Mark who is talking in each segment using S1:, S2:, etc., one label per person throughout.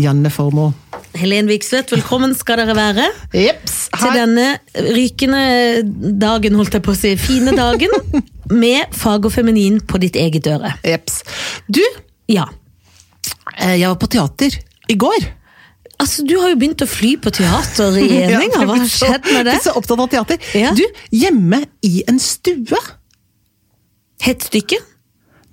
S1: Janne Formoe.
S2: Helen Vikstvedt, velkommen skal dere være
S1: Jeps.
S2: til
S1: her-
S2: denne rykende dagen, holdt jeg på å si, fine dagen, med fag og feminin på ditt eget øre.
S1: Jeps. Du,
S2: Ja.
S1: eh, jeg var på teater i går.
S2: Altså, du har jo begynt å fly på teater i
S1: Ja,
S2: Eninga,
S1: jeg
S2: hva har
S1: blir så-
S2: skjedd med det?
S1: blir Så opptatt av teater.
S2: Ja.
S1: Du, hjemme i en stue.
S2: Hett stykke?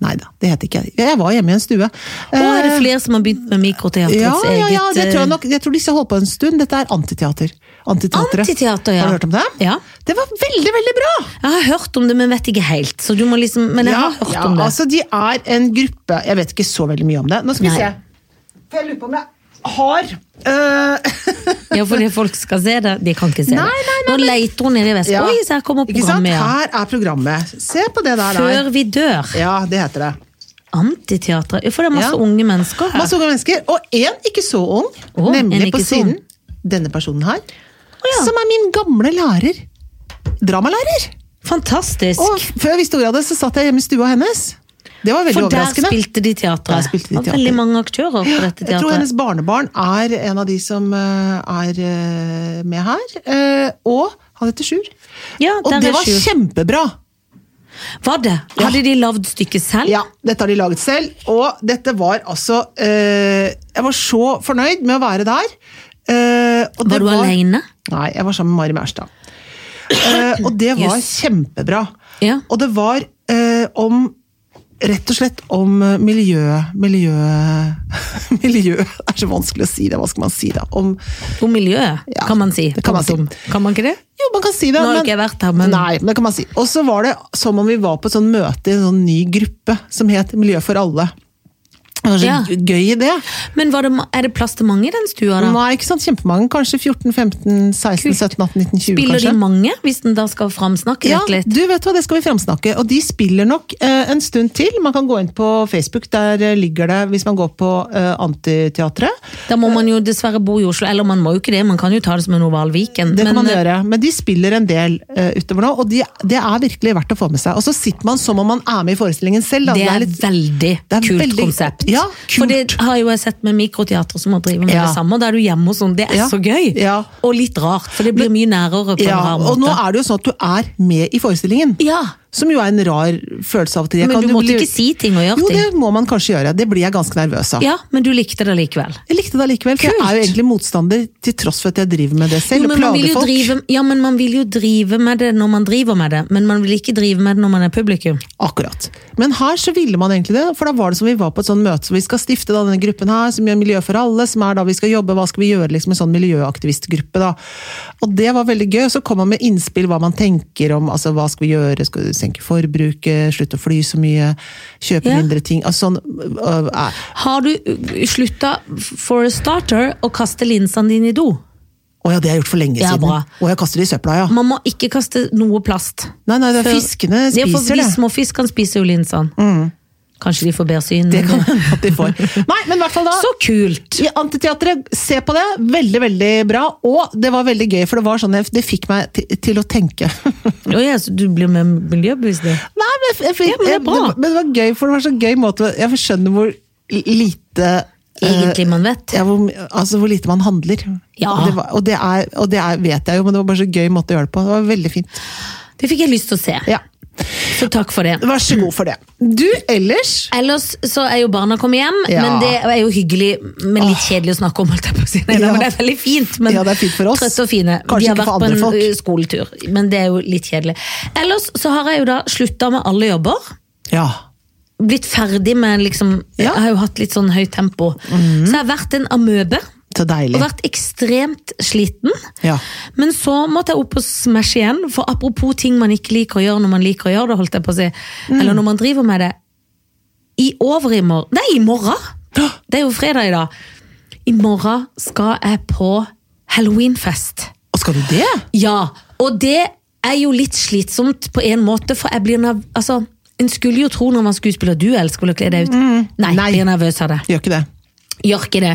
S1: Nei da, det heter ikke jeg. Jeg var hjemme i en stue.
S2: Og er det
S1: Eh,
S2: flere som har begynt med mikroteatrets
S1: Ja, ja, ja,
S2: eget
S1: det tror jeg
S2: eh,
S1: nok. Jeg tror disse holdt på en stund. Dette er antiteater. Antiteatret.
S2: Antiteater, ja.
S1: Har du hørt om det?
S2: Ja.
S1: Det var veldig, veldig bra!
S2: Jeg har hørt om det, men vet ikke helt. Så du må liksom, men jeg
S1: Ja,
S2: har hørt
S1: ja,
S2: om det.
S1: Altså, de er en gruppe Jeg vet ikke så veldig mye om det. Nå skal vi
S2: Nei.
S1: se. For jeg lurer på om jeg har øh,
S2: Ja, fordi folk skal se det. De kan ikke se
S1: Nei,
S2: det.
S1: nei,
S2: Nå leter hun nede i vesken.
S1: ja.
S2: Oi, så her kommer
S1: Ikke sant?
S2: programmet, ja.
S1: Her er programmet. Se på det der. der.
S2: Før vi dør.
S1: Ja, det heter det.
S2: Antiteatret. For det er masse
S1: Ja.
S2: unge mennesker her.
S1: Masse unge mennesker. Og én ikke så ung,
S2: Å, en
S1: nemlig
S2: ikke
S1: på
S2: så ung.
S1: siden. Denne personen her.
S2: ja.
S1: Som er min gamle lærer. Dramalærer.
S2: Fantastisk.
S1: Og før jeg visste ordet av det, så satt jeg hjemme i stua hennes. Det var veldig
S2: For der
S1: overraskende.
S2: spilte de
S1: Der
S2: teatret.
S1: spilte de
S2: Det var
S1: teater.
S2: veldig mange aktører på dette
S1: Jeg tror
S2: teatret.
S1: hennes barnebarn er en av de som eh, er eh, med her. Eh, Og han heter Sjur.
S2: Ja,
S1: og
S2: der
S1: det
S2: er
S1: var
S2: Sjur.
S1: kjempebra!
S2: Var det? Hadde de lagd stykket selv?
S1: Ja, Dette har de laget selv, og dette var altså eh, Jeg var så fornøyd med å være der. Eh, og det
S2: Var du alene?
S1: Nei, jeg var sammen med Mari Mærstad. Eh, og det var kjempebra.
S2: Ja.
S1: Og det var eh, om Rett og slett om eh, miljø Miljø Miljø er så vanskelig å si det, hva skal man si da? Om
S2: På miljøet,
S1: Ja,
S2: kan man si.
S1: det kan man si.
S2: Punktum. Kan man ikke det?
S1: Jo, man kan si det.
S2: Nå har ikke jeg vært der, men-
S1: Nei, men det kan man si. Og så var det som om vi var på et sånn møte i en sånn ny gruppe som het Miljø for alle. Det var så
S2: Ja.
S1: gøy idé.
S2: Men var det, ma- er det plass til mange i den stua da?
S1: Nei, ikke sant? Kjempemange. Kanskje 14, 15, 16,
S2: Kult.
S1: 17, 18, 19, 20,
S2: Spiller de
S1: kanskje.
S2: mange, hvis den da skal framsnakke
S1: Ja,
S2: dette litt?
S1: du vet hva, det skal vi fremsnakke. Og de spiller nok eh, en stund til. Man kan gå inn på Facebook, der eh, ligger det, hvis man går på eh, Antiteatret.
S2: Da må man jo dessverre bo i Oslo, eller man må jo ikke det, man kan jo ta det som en oval Viken.
S1: Det kan
S2: men, eh,
S1: man gjøre, men de spiller en del eh, utover nå, og de, det er virkelig verdt å få med seg. Og så sitter man som om man er med i forestillingen selv. Da.
S2: Det er
S1: litt-
S2: veldig
S1: Det er
S2: kult
S1: veldig-
S2: konsept.
S1: Ja,
S2: For det
S1: kult.
S2: har jo jeg sett med mikroteater som har drevet med
S1: Ja.
S2: det samme, og da er du hjemme hos noen. Det er
S1: Ja.
S2: så gøy!
S1: Ja.
S2: Og litt rart, for det blir mye nærere på
S1: ja,
S2: en rar måte.
S1: og nå er det jo sånn at du er med i forestillingen.
S2: Ja,
S1: Som jo er en rar følelse av og til. Jeg
S2: Men
S1: kan
S2: du
S1: jo
S2: måtte ikke si ting og gjøre
S1: Jo,
S2: ting.
S1: det må man kanskje gjøre. Det blir jeg ganske nervøs av.
S2: ja, men du likte det likevel.
S1: Jeg likte det allikevel, for jeg
S2: Kult.
S1: er jo egentlig motstander til tross for at jeg driver med det selv.
S2: Jo, men
S1: og
S2: man vil
S1: plager
S2: jo
S1: folk.
S2: drive, ja, men man vil jo drive med det når man driver med det, men man vil ikke drive med det når man er publikum.
S1: Akkurat. Men her så ville man egentlig det, for da var det som vi var på et sånn møte som vi skal stifte da, denne gruppen her, som gjør Miljø for alle, som er da vi skal jobbe, hva skal vi gjøre, liksom en sånn miljøaktivistgruppe da. Og det var veldig gøy, og så kom man med innspill hva man tenker om, altså hva skal vi gjøre, skal vi senke forbruket, slutte å fly så mye, kjøpe
S2: Ja.
S1: mindre ting, altså sånn, øh, øh,
S2: Har du øh, slutta f- for a starter å kaste linsene dine i do?
S1: å ja, det har jeg gjort for lenge
S2: Ja,
S1: siden.
S2: bra.
S1: Å, jeg kaster det i søpla, ja.
S2: Man må ikke kaste noe plast.
S1: Nei, nei, det er
S2: Før-
S1: fiskene
S2: Det er for
S1: spiser
S2: de
S1: det. Mm.
S2: småfiskene spiser jo linsene. Kanskje de får bedre syn.
S1: Det
S2: men
S1: kan hende at de får. Nei, men i hvert fall da.
S2: Så kult!
S1: I Antiteatret, se på det. Veldig, veldig bra. Og det var veldig gøy, for det var sånn jeg- det fikk meg til, til å tenke.
S2: Å ja, så du blir med miljøbevisst? det.
S1: Nei, men, jeg, fikk-
S2: Ja, men det er bra.
S1: Det, men det var gøy, for det var så gøy måte Jeg skjønner hvor li- lite eh,
S2: Egentlig, man vet.
S1: ja, hvor, altså hvor lite man handler.
S2: Ja.
S1: Det var, og det, er, og det er, vet jeg jo, men det var bare så gøy måte å gjøre det på. Det var veldig fint.
S2: Det fikk jeg lyst til å se,
S1: Ja.
S2: så takk for det.
S1: Vær så god for det. Du ellers
S2: Ellers så er jo barna kommet hjem,
S1: Ja.
S2: men det er jo hyggelig, men litt kjedelig å snakke om. Holdt jeg på å si. Nei, da,
S1: Ja.
S2: men det er veldig fint. Men
S1: Ja, det er fint for oss.
S2: Trøtte og fine.
S1: Kanskje
S2: De har
S1: ikke for
S2: vært på
S1: andre
S2: en
S1: folk.
S2: ø, skoletur, men det er jo litt kjedelig. Ellers så har jeg jo da slutta med alle jobber.
S1: Ja.
S2: Blitt ferdig med liksom
S1: Ja. Mhm.
S2: Jeg har jo hatt litt sånn høyt tempo. Så jeg har vært en amøbe.
S1: Så deilig.
S2: Og vært ekstremt sliten.
S1: Ja.
S2: Men så måtte jeg opp og smashe igjen, for apropos ting man ikke liker å gjøre når man liker å gjøre det, holdt jeg på å si,
S1: Mm.
S2: eller når man driver med det. I over i morgen Nei, i morgen! Det er jo fredag i dag. I morgen skal jeg på halloweenfest.
S1: Og skal du det?
S2: Ja, og det er jo litt slitsomt på en måte, for jeg blir nerv... Altså, en skulle jo tro når man skuespiller duell, skulle kle deg ut. Nei,
S1: Nei.
S2: blir nervøs av det.
S1: Gjør ikke det.
S2: Gjør ikke det.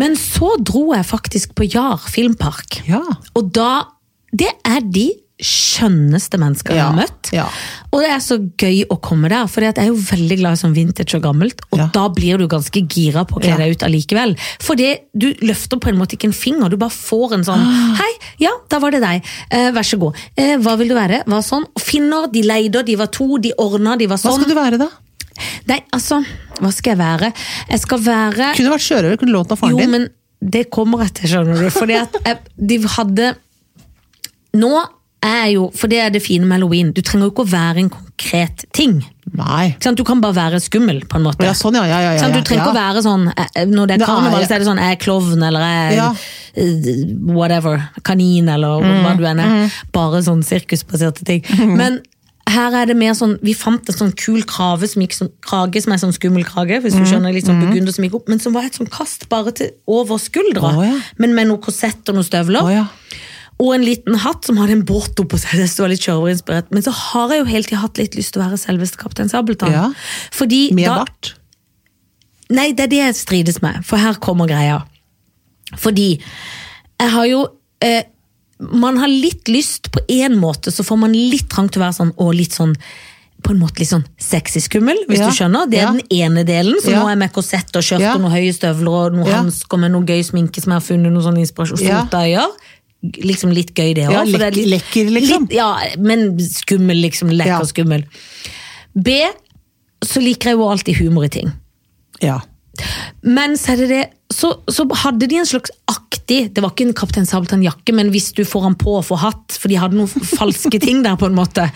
S2: Men så dro jeg faktisk på Jar filmpark.
S1: Ja.
S2: Og da Det er de skjønneste mennesker jeg
S1: Ja,
S2: har møtt.
S1: ja.
S2: Og det er så gøy å komme der, for jeg er jo veldig glad i sånn vintage og gammelt. Og
S1: Ja.
S2: da blir du ganske gira på å
S1: Ja.
S2: kle deg ut allikevel. For det, du løfter på en måte ikke en finger, du bare får en sånn
S1: Ah.
S2: Hei, ja, da var det deg. Eh, vær så god. Eh, hva vil du være? Hva sånn? Og Finner, de leide, de var to, de ordna, de var
S1: Hva
S2: sånn.
S1: skal du være, da?
S2: Nei, altså, hva skal jeg være? Jeg skal være
S1: Kunne vært sjørøver, kunne lånt av faren
S2: jo,
S1: din.
S2: men det kommer jeg til, skjønner du. Fordi at jeg, de hadde Nå er jo For det er det fine med halloween. Du trenger jo ikke å være en konkret ting. Ikke
S1: Nei.
S2: sant? Du kan bare være skummel, på en måte.
S1: Ja, sånn, ja, ja, ja, ja,
S2: Sant? Du trenger ikke å
S1: ja.
S2: være sånn eh, eh, Når det
S1: Det
S2: er
S1: er-
S2: karneval, så er det sånn Jeg er klovn, eller jeg er
S1: Ja. Mm,
S2: eh, whatever. Kanin, eller hva du enn er. Bare sånn sirkusbaserte ting. Men her er det mer sånn, Vi fant en sånn kul krave som gikk sånn, krage, som er sånn skummel krage, hvis du
S1: Mm,
S2: skjønner, litt sånn burgunder som gikk opp, men som var et sånn kast bare til over skuldra.
S1: Å, ja.
S2: Men med noe korsett og noen støvler.
S1: Å, ja.
S2: Og en liten hatt som hadde en båt oppå seg. Det sto litt sjørøverinspirert. Men så har jeg jo hele tiden hatt litt lyst til å være selveste Kaptein Sabeltann.
S1: Ja.
S2: Fordi
S1: Med
S2: da,
S1: bart.
S2: Nei, det er det jeg strides med, for her kommer greia. Fordi jeg har jo eh, Man har litt lyst på én måte, så får man litt trang til å være sånn, og litt sånn på en måte litt sånn sexy skummel, hvis
S1: Ja,
S2: du skjønner. Det er
S1: ja.
S2: den ene delen. Så
S1: Ja.
S2: nå er jeg med korsett og skjørt
S1: Ja.
S2: og noen høye støvler og noen
S1: Ja.
S2: hansker med noe gøy sminke som jeg har funnet noe sånn inspirasjon
S1: Ja.
S2: fotøyer. Liksom litt gøy, det òg.
S1: Ja, lek- lekker, liksom.
S2: Litt, ja, men skummel, liksom. Lekker
S1: Ja.
S2: skummel. B, så liker jeg jo alltid humor i ting.
S1: Ja.
S2: Men så, er det det, så, så hadde de en slags aktig Det var ikke en Kaptein Sabeltann-jakke, men hvis du får han på og får hatt, for de hadde noen falske ting der, på en måte,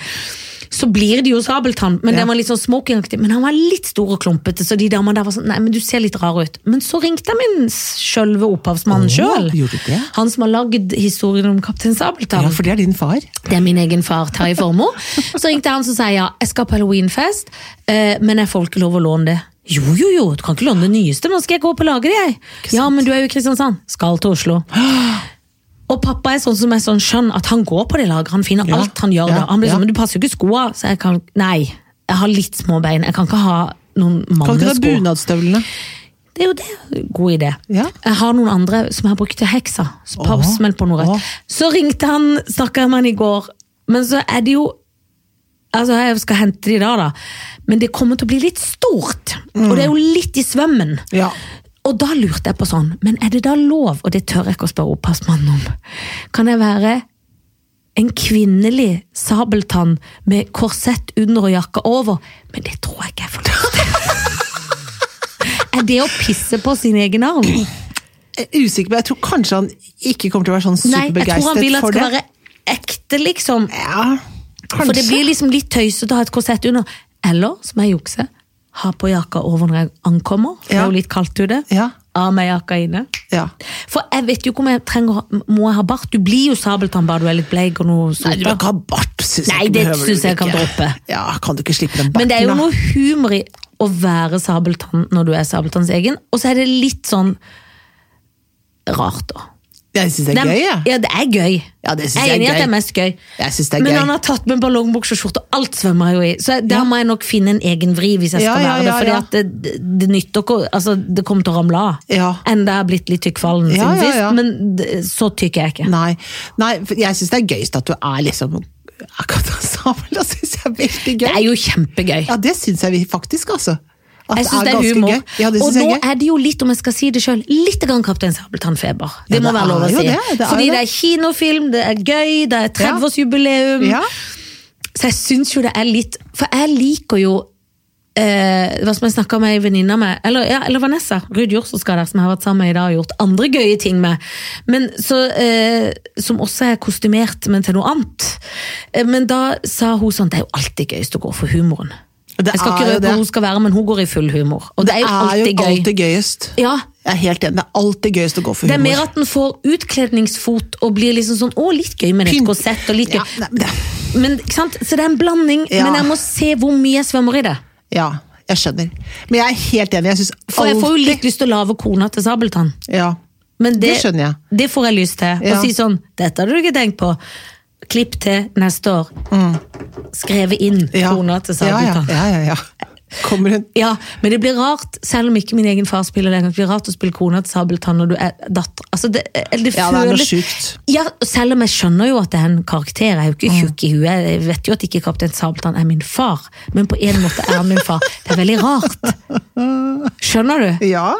S2: så blir det jo Sabeltann. Men
S1: Ja.
S2: den var litt sånn smokingaktig. Men han var litt stor og klumpete, så de damene der var sånn Nei, men du ser litt rar ut. Men så ringte jeg min sjølve opphavsmann
S1: Åh,
S2: sjøl.
S1: gjorde du det?
S2: Han som har lagd historien om Kaptein Sabeltann.
S1: ja, for det er din far.
S2: Det er min egen far, Terje Formoe. Så ringte han og sa ja, jeg skal på halloweenfest, eh, men jeg får ikke lov å låne det. Jo, jo, jo, du kan ikke låne det nyeste, men nå skal jeg gå opp og lage det, jeg. Ja, men du er jo i Kristiansand. Skal til Oslo. Og pappa er sånn som er sånn skjønn at han går på det lageret, han finner
S1: Ja,
S2: alt han gjør.
S1: ja,
S2: da. Han blir
S1: ja.
S2: sånn, men du passer jo ikke skoa, så jeg kan Nei, jeg har litt små bein, jeg kan ikke ha noen
S1: Kan ikke du ha
S2: mannesko.
S1: bunadstøvlene?
S2: Det er jo det. God idé.
S1: Ja.
S2: Jeg har noen andre som jeg har brukt til heksa. Så
S1: Åh.
S2: smell på noe rett.
S1: Åh.
S2: Så ringte han, snakka jeg med han i går, men så er det jo Altså, jeg skal hente de der, da. Men det kommer til å bli litt stort. Og det er jo litt i
S1: Mm.
S2: svømmen.
S1: Ja.
S2: Og da lurte jeg på sånn, men er det da lov, og det tør jeg ikke å spørre opphavsmannen om, kan jeg være en kvinnelig sabeltann med korsett under og jakke over? Men det tror jeg ikke jeg får lov til. er det å pisse på sin egen arm?
S1: Jeg er Usikker på, jeg tror kanskje han ikke kommer til å være sånn
S2: Nei, jeg tror han
S1: superbegeistret
S2: vil at det
S1: for
S2: skal
S1: det.
S2: være ekte, liksom.
S1: Ja, kanskje.
S2: For det blir liksom litt tøysete å ha et korsett under. Eller, som jeg jukser, ha på jakka over når jeg ankommer. for Det
S1: Ja.
S2: er jo litt kaldt ute.
S1: Ja.
S2: Av med jakka inne.
S1: Ja.
S2: For jeg vet jo ikke om jeg trenger Må jeg ha bart? Du blir jo sabeltann bare du er litt bleik og noe
S1: Nei, du må
S2: soper.
S1: ikke ha bart, synes
S2: Nei,
S1: ikke,
S2: det
S1: behøver du
S2: synes jeg
S1: ikke.
S2: kan droppe.
S1: Ja, kan du ikke slippe den barten,
S2: Men det er jo
S1: da?
S2: noe humor i å være sabeltann når du er sabeltanns egen, og så er det litt sånn rart, da.
S1: Jeg synes det er gøy, jeg.
S2: Ja, det er gøy.
S1: Ja, det synes
S2: jeg
S1: jeg
S2: er
S1: er
S2: enig i at
S1: gøy.
S2: det er mest gøy.
S1: Jeg synes det er
S2: Men
S1: gøy.
S2: han har tatt med ballongbukse og skjorte, og alt svømmer jeg jo i. Så der må jeg nok finne en egen vri hvis jeg
S1: Ja,
S2: skal
S1: ja,
S2: være det.
S1: ja,
S2: For
S1: ja.
S2: det, det nytter ikke å Altså, det kommer til å ramle av.
S1: Ja.
S2: Enda jeg har blitt litt tykkfallen
S1: Ja,
S2: siden
S1: ja,
S2: sist,
S1: ja.
S2: men det- så tykk er jeg ikke.
S1: Nei, nei for jeg syns det er gøyest at du er liksom akkurat sammen. Det syns jeg er veldig gøy.
S2: Det er jo kjempegøy.
S1: Ja, det syns jeg vi faktisk, altså. At
S2: Jeg syns det er
S1: ganske
S2: humor.
S1: Gøy. Ja, det
S2: og
S1: synes
S2: nå
S1: jeg er gøy.
S2: er det jo litt, om jeg skal si det sjøl, litt grann Kaptein Sabeltann-feber. Det
S1: Ja,
S2: må
S1: det
S2: være lov å
S1: er jo
S2: si.
S1: det, det er
S2: Fordi
S1: jo
S2: det
S1: det.
S2: er kinofilm, det er gøy, det er 30-årsjubileum.
S1: Ja.
S2: Så jeg syns jo det er litt For jeg liker jo eh, hva som jeg snakka med ei venninne med, eller, ja, eller Vanessa Ruud Jorsoskader, som jeg har vært sammen med i dag og gjort andre gøye ting med, men så, eh, som også er kostymert, men til noe annet. Eh, men da sa hun sånn Det er jo alltid gøyest å gå for humoren.
S1: Det
S2: jeg skal
S1: er
S2: ikke
S1: jo
S2: røpe
S1: det.
S2: hvor hun skal være, men hun går i full humor. Og det, er jo alltid gøy.
S1: alltid gøyest.
S2: Ja,
S1: Jeg er helt enig. Det er alltid gøyest å gå for
S2: det er
S1: humor.
S2: mer at den får utkledningsfot og blir liksom sånn Å, litt gøy med et
S1: Pynt.
S2: korsett og litt gøy.
S1: ja, nei, men det,
S2: Men, ikke sant? Så det er en blanding,
S1: Ja.
S2: men jeg må se hvor mye jeg svømmer i det.
S1: ja, jeg skjønner. Men jeg er helt enig. Jeg syns
S2: For jeg
S1: alltid
S2: får jo litt lyst til å lage kona til Sabeltann.
S1: ja.
S2: Men det,
S1: Det skjønner jeg.
S2: Det får jeg lyst til.
S1: Ja.
S2: Å si sånn Dette hadde du ikke tenkt på. Klipp til neste år. Skrevet inn
S1: ja.
S2: kona til
S1: Mm. ja, ja,
S2: Sabeltann.
S1: ja, ja, ja. Kommer hun
S2: Ja, men det blir rart, selv om ikke min egen far spiller lenger, det blir rart å spille kona til Sabeltann når du er datter. Altså, det, eller det
S1: Ja, det er noe
S2: føles-
S1: sjukt. Mm.
S2: Ja, selv om jeg skjønner jo at det er en karakter, jeg er jo ikke tjukk i huet, jeg vet jo at ikke Kaptein Sabeltann er min far, men på en måte er han min far. Det er veldig rart. Skjønner du?
S1: Ja,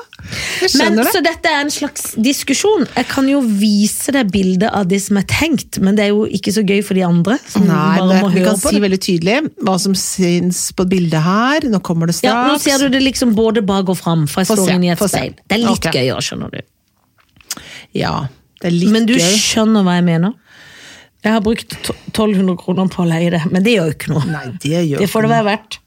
S1: jeg
S2: Men,
S1: skjønner det.
S2: så dette er en slags diskusjon. Jeg kan jo vise deg bildet av det som er tenkt, men det er jo ikke så gøy for de andre. Som
S1: Nei,
S2: bare
S1: det,
S2: må
S1: vi
S2: høre
S1: kan
S2: på
S1: si
S2: det.
S1: veldig tydelig hva som syns på bildet her. Nå kommer det
S2: Ja, nå
S1: straks.
S2: ser du det liksom både bak og fram, for jeg
S1: Få se,
S2: står inne i et
S1: få se.
S2: speil. Det er litt
S1: Ok.
S2: gøyere, skjønner du.
S1: Ja, det er litt
S2: Men du
S1: gøy.
S2: skjønner hva jeg mener. Jeg har brukt to- 1200 kroner på å leie det, men det gjør jo ikke noe.
S1: Nei, det gjør
S2: Det får det være verdt.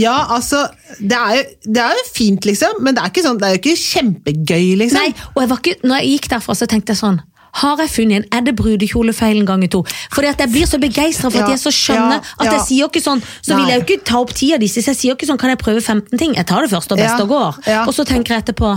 S1: Ja, altså, det er, jo, det er jo fint, liksom, men det er ikke, sånn, det er jo ikke kjempegøy, liksom.
S2: Nei, og jeg var ikke, når jeg gikk derfra, så tenkte jeg sånn har jeg funnet en? Er det brudekjolefeilen ganger to? Fordi at jeg blir så begeistra for at
S1: Ja,
S2: jeg så skjønner
S1: ja,
S2: at jeg
S1: ja.
S2: sier jo ikke sånn, så vil
S1: Nei.
S2: jeg jo ikke ta opp tida deres. Jeg sier jo ikke sånn, kan jeg prøve 15 ting? Jeg tar det første og beste
S1: Ja,
S2: og går.
S1: ja.
S2: Og så tenker jeg etterpå,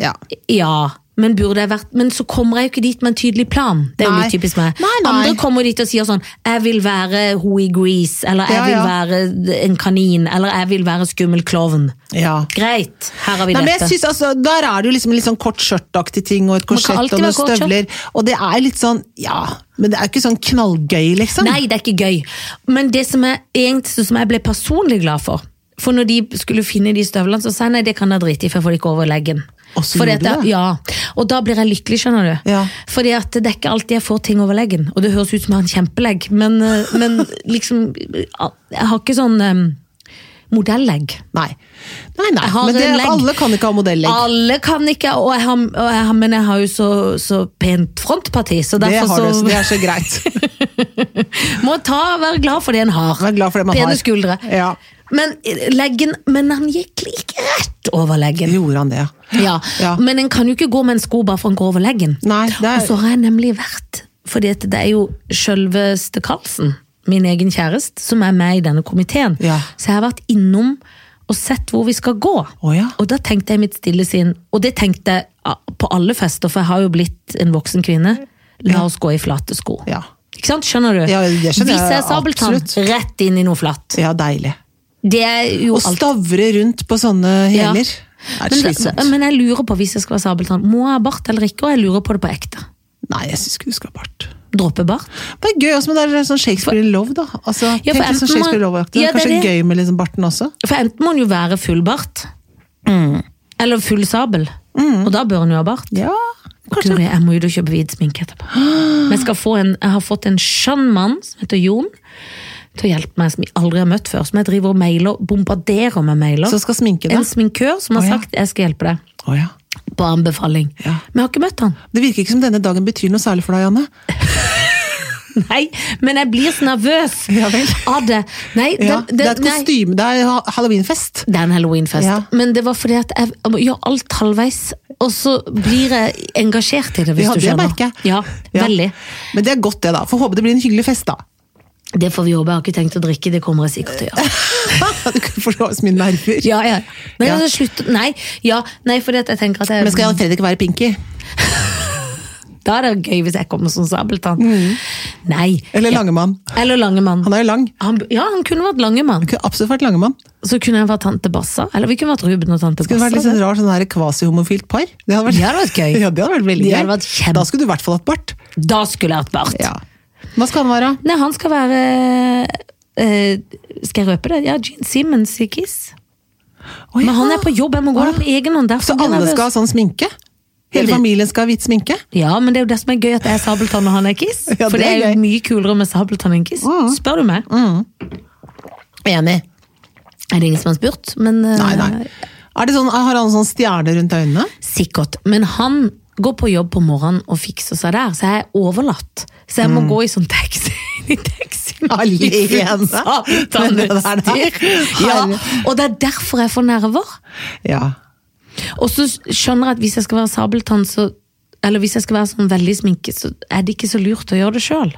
S1: Ja.
S2: ja, men burde jeg vært Men så kommer jeg jo ikke dit med en tydelig plan. Det er jo
S1: Nei.
S2: litt typisk meg.
S1: Nei, nei.
S2: Andre kommer dit og sier sånn Jeg vil være ho i Grease, eller jeg
S1: Ja,
S2: vil
S1: ja.
S2: være en kanin, eller jeg vil være skummel klovn.
S1: ja.
S2: Greit, her har vi
S1: Nei, men jeg
S2: dette.
S1: synes, altså, Der er det jo liksom en litt sånn kort skjørtaktig ting, og et
S2: Man kan
S1: korsett og
S2: alltid
S1: noen
S2: være kort
S1: støvler. Og det er litt sånn, ja, men det er ikke sånn knallgøy, liksom.
S2: Nei, det er ikke gøy. Men det som jeg, egentlig, som jeg ble personlig glad for For når de skulle finne de støvlene, så sa jeg nei, det kan jeg drite i, for jeg får det ikke over leggen.
S1: Og så gjorde
S2: Fordi at
S1: du
S2: jeg-
S1: det?
S2: Ja, og da blir jeg lykkelig, skjønner du.
S1: Ja.
S2: Fordi at det er ikke alltid jeg får ting over leggen, og det høres ut som jeg har en kjempelegg, men, eh, men liksom Jeg har ikke sånn um, modellegg.
S1: Nei, nei, nei.
S2: Jeg har
S1: men det,
S2: en legg. Ah,
S1: alle kan ikke ha modellegg.
S2: Alle kan ikke, og jeg har, og jeg har, men jeg har jo så, så pent frontparti, så
S1: Det
S2: derfor
S1: har du,
S2: så
S1: så det er så greit.
S2: Må ta, være glad for det en har.
S1: Vær glad for det man
S2: Pene
S1: har.
S2: skuldre.
S1: Ja.
S2: Men, eh, leggen, men han gikk like rett over leggen.
S1: Gjorde han det, ja.
S2: Ja.
S1: Ja.
S2: Men en kan jo ikke gå med en sko bare for han går over leggen.
S1: Nei, det
S2: Og
S1: er...
S2: så har jeg nemlig vært, fordi at det er jo selveste Karlsen, min egen kjæreste, som er med i denne komiteen.
S1: Ja.
S2: Så jeg har vært innom og sett hvor vi skal gå.
S1: Å ja.
S2: Og da tenkte jeg i mitt stille sinn, og det tenkte jeg ah, på alle fester, for jeg har jo blitt en voksen kvinne, la oss gå i flate sko.
S1: Ja.
S2: Ikke sant? Skjønner du?
S1: Ja, det skjønner
S2: Hvis jeg
S1: jeg
S2: er sabeltann,
S1: absolutt.
S2: rett inn i noe flatt.
S1: ja, deilig.
S2: Det er jo
S1: Å
S2: alt.
S1: stavre rundt på sånne
S2: Ja.
S1: hæler. Det er
S2: Men,
S1: slitsomt.
S2: det- men jeg lurer på, hvis jeg skal være sabeltann, må jeg ha bart eller ikke? Og jeg lurer på det på ekte.
S1: Nei, jeg syns ikke du skal ha bart.
S2: Droppe bart.
S1: Det er gøy også, men det er sånn Shakespeare in love, da. Altså,
S2: Ja,
S1: tenk litt sånn
S2: for enten man-
S1: Shakespeare in love-aktig.
S2: Ja, det er
S1: Kanskje
S2: det.
S1: gøy med liksom barten også?
S2: For enten må han jo være full bart, eller full sabel.
S1: Mm.
S2: Og da bør han jo ha bart.
S1: Ja, kanskje.
S2: Guri, jeg må ut og kjøpe hvit sminke etterpå. Men jeg, skal få en, jeg har fått en skjønn mann som heter Jon, til å hjelpe meg, som jeg aldri har møtt før. Som jeg driver og mailer, bombarderer med mailer.
S1: Så skal sminke
S2: En
S1: deg?
S2: sminkør som har
S1: Å, ja.
S2: sagt 'jeg skal hjelpe deg'.
S1: Å ja.
S2: på anbefaling.
S1: Ja.
S2: Men jeg har ikke møtt han.
S1: Det virker ikke som denne dagen betyr noe særlig for deg, Janne.
S2: Nei, men jeg blir så nervøs
S1: Ja vel.
S2: av det. Nei,
S1: Ja,
S2: den,
S1: det er
S2: den,
S1: et
S2: nei.
S1: kostyme, det er ha- halloweenfest.
S2: Det er en halloweenfest.
S1: Ja.
S2: Men det var fordi at jeg jeg gjør alt halvveis, og så blir jeg engasjert i det, hvis
S1: Ja,
S2: du
S1: det
S2: skjønner.
S1: merker jeg.
S2: Ja,
S1: Ja.
S2: veldig.
S1: Men det er godt, det, da. Får håpe det blir en hyggelig fest, da.
S2: Det får vi håpe. Jeg har ikke tenkt å drikke, det kommer jeg sikkert til å gjøre.
S1: du kan få låse mine nerver.
S2: Ja, ja. Nei,
S1: Ja.
S2: altså, slutt. Nei, ja, nei, fordi at jeg tenker at jeg,
S1: Men skal Jan Fredrik være pinky?
S2: da er det gøy hvis jeg kommer som sabeltann. Nei.
S1: Mm. Eller
S2: ja.
S1: Langemann?
S2: Eller Langemann.
S1: Han er jo lang.
S2: Han, ja, han kunne vært Langemann.
S1: Kunne absolutt vært Langemann.
S2: Så kunne jeg vært tante Bassa, eller vi kunne vært Ruben og tante
S1: Skulle det vært litt
S2: Bassa.
S1: sånn rar sånn her kvasihomofilt par. Det hadde vært,
S2: Det hadde vært gøy.
S1: Ja, det hadde vært veldig
S2: Det
S1: gøy.
S2: hadde vært kjempe-
S1: Da skulle du i hvert fall hatt bart.
S2: Da skulle jeg hatt bart.
S1: Ja. Hva skal han være?
S2: Nei, han skal være eh, Skal jeg røpe det? Ja, Gene Simmons i Kiss.
S1: Å,
S2: Men han
S1: ja.
S2: er på jobb, jeg må gå der på egen hånd. derfor
S1: Så
S2: blir jeg
S1: alle
S2: nervøs.
S1: skal ha sånn sminke?
S2: Det er
S1: Hele
S2: det.
S1: familien skal ha hvit sminke?
S2: Ja, men det er jo det som er gøy, at jeg er Sabeltann og han er Kiss.
S1: Ja,
S2: For
S1: det
S2: det
S1: er
S2: er jo
S1: gøy. Mm.
S2: mye kulere med Sabeltann enn Kiss. Spør du meg?
S1: Enig.
S2: Er det ingen som har spurt? Men, eh,
S1: Nei, nei. Er det sånn, har han sånn stjerne rundt øynene?
S2: Sikkert. Men han går på jobb på morgenen og fikser seg der, så jeg er overlatt. Så jeg må gå i sånn taxi. i taxien.
S1: Mm. Alene. Men det der, da.
S2: Satanutstyr. Ja, og det er derfor jeg får nerver.
S1: Ja.
S2: Og så skjønner jeg at hvis jeg skal være sabeltann, så eller hvis jeg skal være sånn veldig sminket, så er det ikke så lurt å gjøre det sjøl.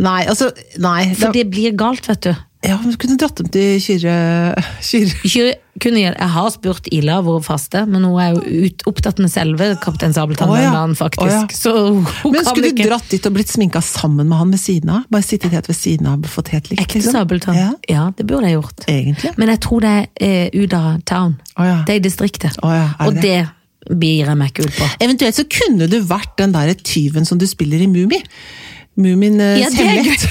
S1: Nei, altså Nei.
S2: For
S1: det-
S2: det blir galt, vet du.
S1: Ja, men du kunne dratt dem til Kyrre Kyrre
S2: Ikke kunne gjøre- Jeg har spurt Ila hvor faste, men hun er jo ut, opptatt med selve Kaptein Sabeltann
S1: Å, ja.
S2: den dagen, faktisk.
S1: Å, ja.
S2: Så hun
S1: Men
S2: kan
S1: skulle du
S2: ikke
S1: dratt dit og blitt sminka sammen med han ved siden av? Bare sittet helt ved siden av og fått helt likt? liksom?
S2: Ekte Sabeltann. Ja.
S1: Ja,
S2: det burde jeg gjort.
S1: egentlig.
S2: Men jeg tror det er eh, ut av town.
S1: Å, ja.
S2: Det er i distriktet.
S1: Å, ja, er det
S2: Og det blir jeg meg ikke ut på.
S1: Eventuelt så kunne du vært den der tyven som du spiller i Mumi. Mumin eh,
S2: Ja, det er
S1: hemmelighet.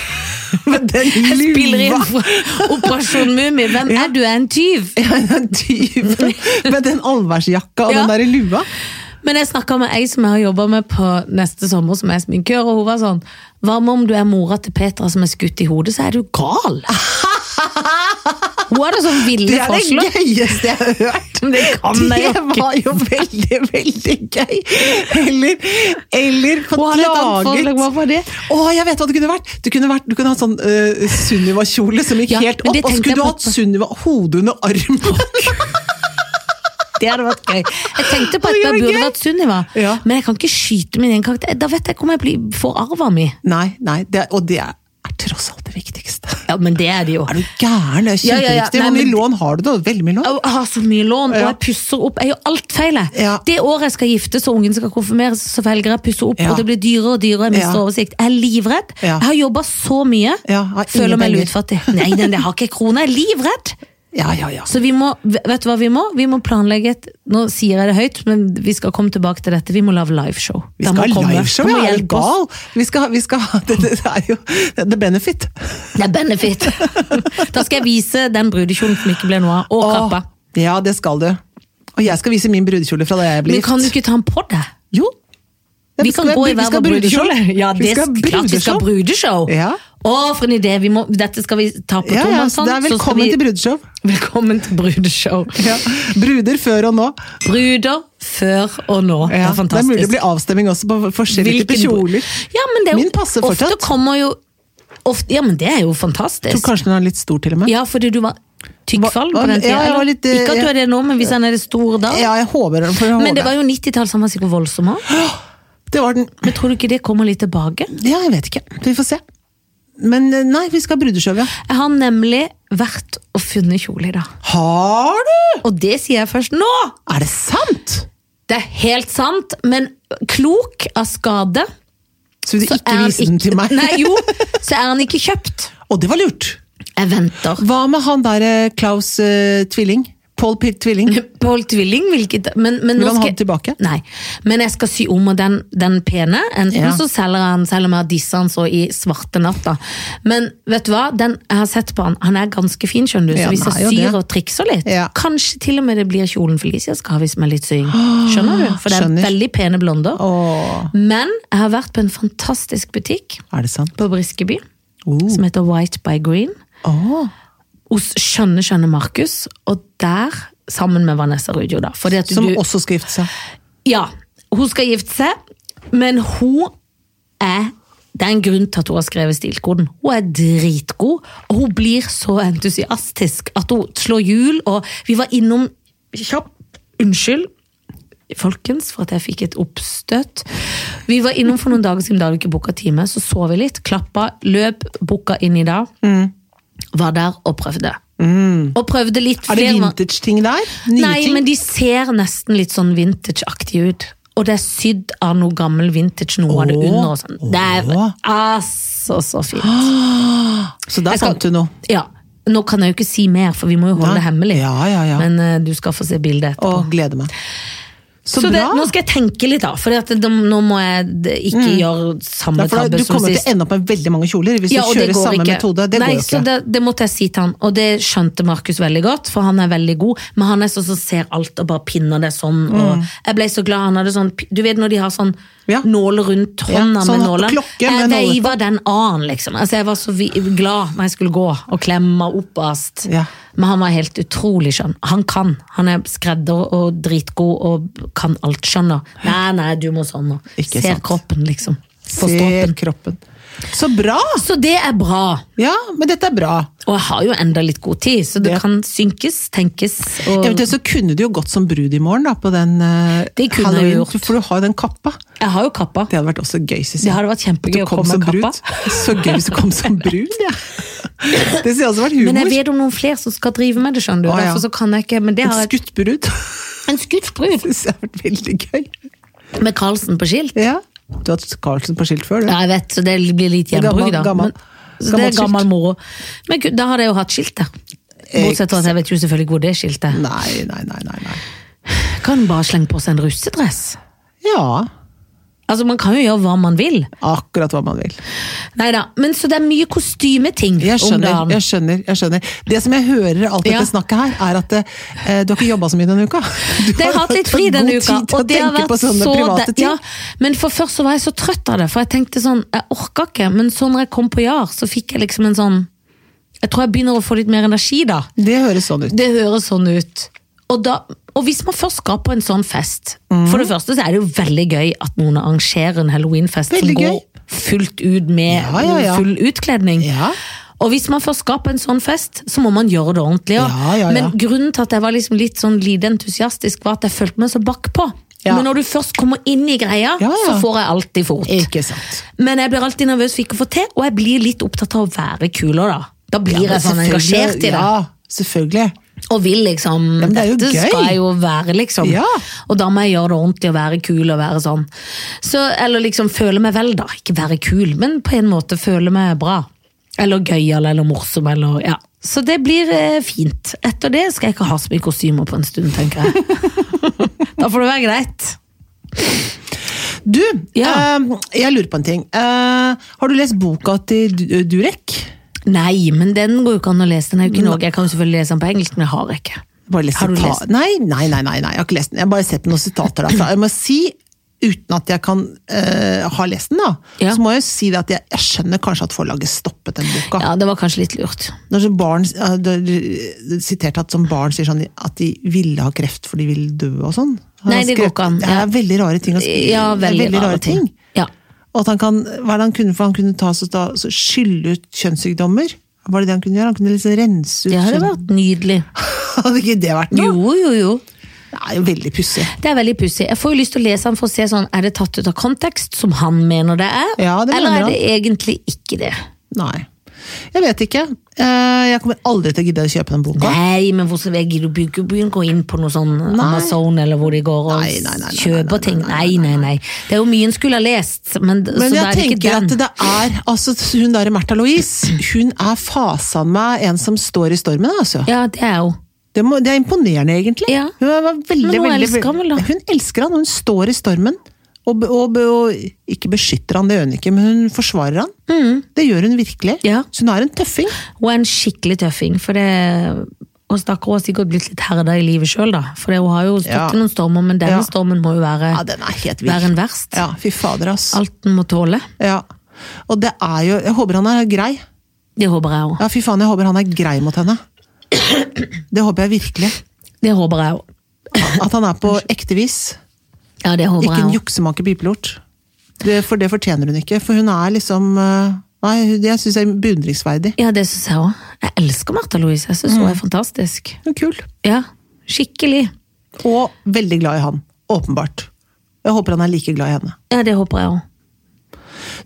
S1: Men den
S2: Jeg spiller inn
S1: luva.
S2: fra Operasjon Mummi. Hvem
S1: Ja.
S2: er du? Jeg er en tyv?
S1: Ja, den tyven med den allværsjakka og
S2: Ja.
S1: den der lua.
S2: Men jeg snakka med ei som jeg har jobba med på neste sommer, som er sminkør, og hun var sånn Hva med om du er mora til Petra som er skutt i hodet, så er du gal! Hun hadde sånn
S1: Det
S2: ville
S1: er det
S2: forslag.
S1: gøyeste jeg har hørt!
S2: Men det kan jeg jo ikke.
S1: var jo veldig, veldig gøy! Eller, eller
S2: Hun
S1: fått
S2: hadde et annet forslag,
S1: laget
S2: hva var det?
S1: Å, jeg vet hva det kunne vært! Du kunne, vært, du kunne hatt sånn eh, Sunniva-kjole som gikk
S2: Ja,
S1: helt
S2: men
S1: opp,
S2: det
S1: og så
S2: tenkte jeg
S1: skulle du
S2: på
S1: hatt Sunniva hodet under armen!
S2: Det hadde vært gøy. Jeg tenkte på
S1: Å,
S2: at
S1: det
S2: jeg
S1: var
S2: burde
S1: gøy.
S2: vært Sunniva,
S1: Ja.
S2: men jeg kan ikke skyte min egen karakter. Da vet jeg hvor jeg blir, får arva mi.
S1: nei, nei, det, er- og det er, er tross alt det viktigste.
S2: Ja, men det er det jo.
S1: Er du gæren? Det er
S2: Ja, ja, ja.
S1: kjempeviktig.
S2: Nei,
S1: Hvor
S2: men-
S1: mye lån har du, da? Veldig mye lån?
S2: Jeg har så mye lån, og
S1: Ja.
S2: jeg pusser opp. Jeg gjør alt feil. jeg.
S1: Ja.
S2: Det året jeg skal giftes og ungen skal konfirmeres, så velger jeg å pusse opp,
S1: Ja.
S2: og det blir dyrere og dyrere. Jeg mister
S1: Ja.
S2: oversikt. Jeg er livredd.
S1: Ja.
S2: Jeg har jobba så mye.
S1: Ja, jeg har
S2: Føler
S1: ingen
S2: meg
S1: penger.
S2: lutfattig. Nei, nei, jeg har ikke en krone. Jeg er livredd.
S1: Ja, ja, ja.
S2: Så vi må, vet du hva vi må? Vi må planlegge et Nå sier jeg det høyt, men vi skal komme tilbake til dette. Vi må lage liveshow.
S1: Vi
S2: Da
S1: skal
S2: må
S1: ha
S2: komme.
S1: liveshow,
S2: Da må
S1: ja! Er du
S2: hjelpe oss.
S1: gal? Vi skal, vi skal ha det, det er jo the benefit.
S2: Det er benefit. da skal jeg vise den brudekjolen som ikke ble noe av, og
S1: Åh,
S2: kappa.
S1: Ja, det skal du. Og jeg skal vise min brudekjole fra da jeg ble
S2: Men
S1: gift.
S2: kan du ikke ta den på deg?
S1: Jo. Ja,
S2: Vi
S1: skal
S2: kan
S1: ha-
S2: gå i
S1: vi
S2: hver
S1: skal
S2: vår
S1: ha
S2: brudekjole. Ja,
S1: vi
S2: det
S1: skal ha
S2: er klart vi skal ha
S1: brudekjole.
S2: brudeshow.
S1: Ja.
S2: Å, for en idé. Vi må, dette skal vi ta på
S1: Ja, ja, så
S2: tomannshånd.
S1: det er velkommen til brudeshow.
S2: Velkommen til brudeshow.
S1: Ja. Bruder før og nå.
S2: Bruder før og nå. det
S1: Ja, det er mulig det
S2: er fantastisk.
S1: blir avstemming også på forskjellige typer
S2: bru-
S1: kjoler.
S2: Ja, men det er jo,
S1: Min passer fortsatt.
S2: Ofte kommer jo ofte, Ja, men det er jo
S1: Jeg
S2: fantastisk.
S1: tror kanskje den er litt stor til og med.
S2: Ja, fordi du var tykkfall
S1: Hva-
S2: på den
S1: ja, jeg
S2: tida.
S1: var
S2: eller?
S1: litt, eh,
S2: ikke at du er det nå, men hvis han er det store da.
S1: Ja, jeg håper den. For jeg håper.
S2: Men det var jo 90-tall, så han var sikkert voldsom også.
S1: det var den.
S2: Men tror du ikke det kommer litt tilbake?
S1: Ja, jeg vet ikke. Vi får se. Men eh, nei, vi skal ha brudeshow, ja.
S2: Jeg har nemlig vært og funnet kjole i dag.
S1: Har du?!
S2: Og det sier jeg først nå!
S1: Er det sant?!
S2: Det er helt sant, men klok av skade
S1: Så vil du
S2: så
S1: ikke
S2: er han
S1: vise den til meg?
S2: Nei, jo, så er han ikke kjøpt.
S1: Og det var lurt!
S2: Jeg venter.
S1: Hva med han der eh, Klaus eh, Tvilling? Paul Pitt Tvilling?
S2: Behold tvilling, hvilket men, men
S1: Vil
S2: nå
S1: han ha
S2: skal,
S1: den tilbake?
S2: Nei, men jeg skal sy om og den, den pene. Enten
S1: Ja.
S2: så selger jeg den, selv om jeg har disse han så i svarte natta. Men vet du hva, den jeg har sett på han, han er ganske fin, skjønner du. Så
S1: Ja,
S2: hvis
S1: han er
S2: jeg
S1: jo det.
S2: syr og trikser litt,
S1: Ja.
S2: kanskje til og med det blir kjolen Felicia skal ha hvis vi er litt sying. Skjønner du? For det er
S1: Skjønner.
S2: veldig pene blonder.
S1: Åh,
S2: Men jeg har vært på en fantastisk butikk
S1: er det sant?
S2: på Briskeby,
S1: Oh.
S2: som heter White by Green,
S1: Åh.
S2: hos skjønne, skjønne Markus, og der, sammen med Vanessa Rudjo da, fordi at
S1: Som
S2: du,
S1: også skal gifte seg.
S2: ja, hun skal gifte seg, men hun er, det er en grunn til at hun har skrevet stilkoden. Hun er dritgod, og hun blir så entusiastisk at hun slår hjul, og vi var innom, kjapp, unnskyld, folkens, for at jeg fikk et oppstøt. Vi var innom for noen dager siden da vi ikke booka time, så så vi litt, klappa, løp, booka inn i dag.
S1: Mm.
S2: Var der og prøvde. Og prøvde litt
S1: Er det
S2: flere-
S1: vintage-ting der? Nye
S2: Nei,
S1: ting?
S2: men de ser nesten litt sånn vintage-aktig ut. Og det er sydd av noe gammel vintage, noe av det
S1: Åh,
S2: under og sånn. Det er
S1: åh.
S2: altså så fint.
S1: Så der
S2: Jeg skal-
S1: fant du noe.
S2: Ja. Nå kan jeg jo ikke si mer, for vi må jo
S1: Nei.
S2: holde det hemmelig.
S1: Ja, ja, ja.
S2: Men eh, du skal få se bildet etterpå.
S1: Å, gleder meg. Så,
S2: Så det,
S1: bra!
S2: nå skal jeg tenke litt, da. For nå må jeg d- ikke gjøre
S1: Mm.
S2: samme
S1: ja, for da,
S2: tabbe
S1: du
S2: som
S1: kommer til
S2: sist.
S1: å ende opp med veldig mange kjoler hvis
S2: Ja, og
S1: du
S2: det
S1: kjører
S2: går
S1: samme
S2: ikke.
S1: metode. Det
S2: Nei,
S1: går jo
S2: Så
S1: ikke.
S2: det, det måtte jeg si til han, og det skjønte Markus veldig godt, for han er veldig god, men han er sånn som ser alt og bare pinner det sånn. Og jeg ble så glad han hadde sånn, du vet når de har
S1: Mm.
S2: sånn
S1: Ja.
S2: nåler rundt
S1: Ja,
S2: hånda
S1: sånn
S2: med nålen.
S1: klokke med nåler
S2: Jeg
S1: på.
S2: veiva den annen, liksom. Altså, jeg var så vi- glad når jeg skulle gå, og klemma oppast.
S1: Ja.
S2: Men han var helt utrolig skjønn. Han kan. Han er skredder og dritgod og kan alt, skjønner. Nei, nei, du må sånn nå.
S1: Ikke
S2: Ser
S1: sant.
S2: kroppen, liksom. På
S1: Ser
S2: stroppen.
S1: kroppen. Så bra!
S2: Så det er bra.
S1: Ja, men dette er bra.
S2: Og jeg har jo enda litt god tid, så det
S1: Ja.
S2: kan synkes, tenkes og
S1: Eventuelt så kunne du jo gått som brud i morgen, da, på den eh,
S2: Det kunne jeg
S1: halloween.
S2: gjort.
S1: For du har jo den kappa.
S2: Jeg har jo kappa.
S1: Det hadde vært også gøy, synes jeg.
S2: Det hadde vært
S1: Du
S2: kjempegøy å
S1: kom
S2: komme
S1: som
S2: med kappa.
S1: brud. Så gøy hvis du kom som brud, ja. Det synes jeg også hadde vært humor.
S2: Men jeg vet om noen flere som skal drive med det, skjønner du.
S1: Å, ja.
S2: Derfor så kan jeg ikke, men det
S1: Et
S2: har jeg...
S1: skutt brud.
S2: En skutt brud!
S1: Det synes jeg hadde vært veldig gøy.
S2: Med Karlsen på skilt.
S1: Ja. Du har hatt Carlsen på skilt før, du.
S2: Ja, jeg vet, så det blir litt gjenbruk,
S1: Gammel-
S2: da.
S1: gammel-
S2: Men- så det
S1: gammelt
S2: er
S1: skilt. Eh,
S2: gammel moro. Men gud, da hadde jeg jo hatt skiltet. Bortsett fra at jeg vet jo selvfølgelig hvor det skiltet er.
S1: Nei, nei, nei, nei, nei.
S2: Kan bare slenge på seg en russedress.
S1: Ja,
S2: Altså, man kan jo gjøre hva man vil.
S1: akkurat hva man vil.
S2: Neida, men så det er mye kostymeting
S1: Jeg
S2: om
S1: skjønner,
S2: dagen.
S1: jeg skjønner. jeg skjønner. Det som jeg hører av alt dette
S2: Ja.
S1: snakket her, er at eh, du har ikke jobba så mye denne uka. Du
S2: Det har hatt litt fri
S1: god
S2: denne
S1: tid
S2: uka,
S1: til å
S2: og det har
S1: tenke
S2: vært
S1: på sånne
S2: så
S1: private
S2: det-
S1: ting.
S2: ja, Men for først så var jeg så trøtt av det, for jeg tenkte sånn, jeg orka ikke. Men så når jeg kom på JAR, så fikk jeg liksom en sånn Jeg tror jeg begynner å få litt mer energi da.
S1: Det høres sånn ut.
S2: Det høres sånn ut. Og, da, og hvis man først skal på en sånn fest,
S1: Mm.
S2: for det første så er det jo veldig gøy at noen arrangerer en halloweenfest som
S1: Veldig
S2: går
S1: gøy.
S2: fullt ut med
S1: Ja, ja, ja.
S2: full utkledning.
S1: Ja.
S2: Og hvis man først skal på en sånn fest, så må man gjøre det ordentlig. og-
S1: Ja, ja, ja.
S2: Men grunnen til at jeg var liksom litt sånn lite entusiastisk, var at jeg følte meg så bakpå.
S1: Ja.
S2: Men når du først kommer inn i greia,
S1: Ja, ja.
S2: så får jeg alltid fort.
S1: Ikke sant.
S2: Men jeg blir alltid nervøs for ikke å få til, og jeg blir litt opptatt av å være kul også, da. Da blir
S1: Ja, men
S2: jeg sånn
S1: selvfølgelig-
S2: engasjert i det.
S1: Ja, selvfølgelig.
S2: Og vil liksom
S1: men det er jo
S2: Dette
S1: gøy.
S2: skal jeg jo være, liksom.
S1: Ja.
S2: Og da må jeg gjøre det ordentlig og være kul og være sånn. Så, eller liksom føle meg vel, da. Ikke være kul, men på en måte føle meg bra. Eller gøyal eller morsom eller ja. Så det blir eh, fint. Etter det skal jeg ikke ha så mye kostymer på en stund, tenker jeg. da får det være greit.
S1: Du,
S2: Ja.
S1: eh, jeg lurer på en ting. Eh, har du lest boka til Du- eh, Durek?
S2: Nei, men den går jo ikke an å lese. Den er jo ikke i Norge. Jeg kan jo selvfølgelig lese den på engelsk, men jeg har ikke.
S1: Bare lest
S2: Har du
S1: sita-
S2: lest
S1: Nei, nei, nei, nei, nei, jeg har ikke lest den. Jeg har bare sett noen sitater derfra. Jeg må si, uten at jeg kan eh, ha lest den, da,
S2: Ja.
S1: så må jeg jo si det at jeg, jeg skjønner kanskje at forlaget stoppet den boka.
S2: Ja, det var kanskje litt lurt.
S1: Når så barn, eh, det er sitert at som barn sier sånn at de ville ha kreft for de ville dø og sånn. Han
S2: Nei, det går
S1: skrev-
S2: ikke an,
S1: Det er
S2: ja.
S1: veldig rare ting. å skrive.
S2: Ja,
S1: Det er
S2: veldig, rare ting. Ja.
S1: Og at han kan, hva er det han kunne, for han kunne ta, så, da- så skylle ut kjønnssykdommer. Var det det han kunne gjøre? Han kunne liksom rense ut
S2: Det hadde
S1: kjønn-
S2: vært nydelig.
S1: Hadde ikke det vært noe?
S2: Jo, jo, jo.
S1: Det er jo veldig pussig.
S2: Det er veldig pussig. Jeg får jo lyst til å lese den for å se sånn, er det tatt ut av kontekst, som han mener det er,
S1: Ja, det
S2: eller
S1: mener
S2: er det egentlig ikke det?
S1: Nei. Jeg vet ikke. Eh, Jeg kommer aldri til å gidde å kjøpe den boka.
S2: Nei, men hvor skal jeg gidde å bygge- begynne å gå inn på noe sånn Amazon, eller hvor de går og
S1: Nei, nei, nei, nei, nei, nei,
S2: kjøper ting?
S1: nei,
S2: Nei, nei, nei. Det er jo mye en skulle ha lest, men, så
S1: Men
S2: altså, det
S1: jeg
S2: er
S1: tenker
S2: det ikke den.
S1: at det er altså Hun der Märtha Louise, hun er fasan meg en som står i stormen, altså.
S2: Ja, det er jo.
S1: Det, må, det er imponerende, egentlig.
S2: Ja.
S1: Hun er veldig,
S2: Men hun
S1: veldig,
S2: elsker han vel, da?
S1: Hun elsker han, og hun står i stormen. Og, be- og, be- og ikke beskytter han, det gjør hun ikke, men hun forsvarer han. Det gjør hun virkelig.
S2: Mm. Ja.
S1: Så hun er en tøffing.
S2: Hun er en skikkelig tøffing, for det og stakkar hun har sikkert blitt litt herda i livet sjøl, da. For det- hun har jo stått
S1: Ja.
S2: i noen stormer, men denne
S1: Ja.
S2: stormen må jo være,
S1: Ja, den er helt vill.
S2: være en verst.
S1: Ja, fy fader, ass.
S2: Alt den må tåle.
S1: Ja. Og det er jo Jeg håper han er grei.
S2: Det håper jeg òg.
S1: Ja, fy faen, jeg håper han er grei mot henne. Det håper jeg virkelig.
S2: Det håper jeg òg.
S1: At han er på ekte vis.
S2: Ja, det håper
S1: Ikke
S2: jeg
S1: en
S2: også.
S1: juksemaker pipelort. Det, for det fortjener hun ikke. For hun er liksom eh, Nei, det syns jeg er beundringsverdig.
S2: Ja, det syns jeg òg. Jeg elsker Martha Louise. Jeg
S1: Mm.
S2: syns hun er fantastisk.
S1: Hun er kul.
S2: Ja, skikkelig.
S1: Og veldig glad i han. Åpenbart. Jeg håper han er like glad i henne.
S2: Ja, det håper jeg òg.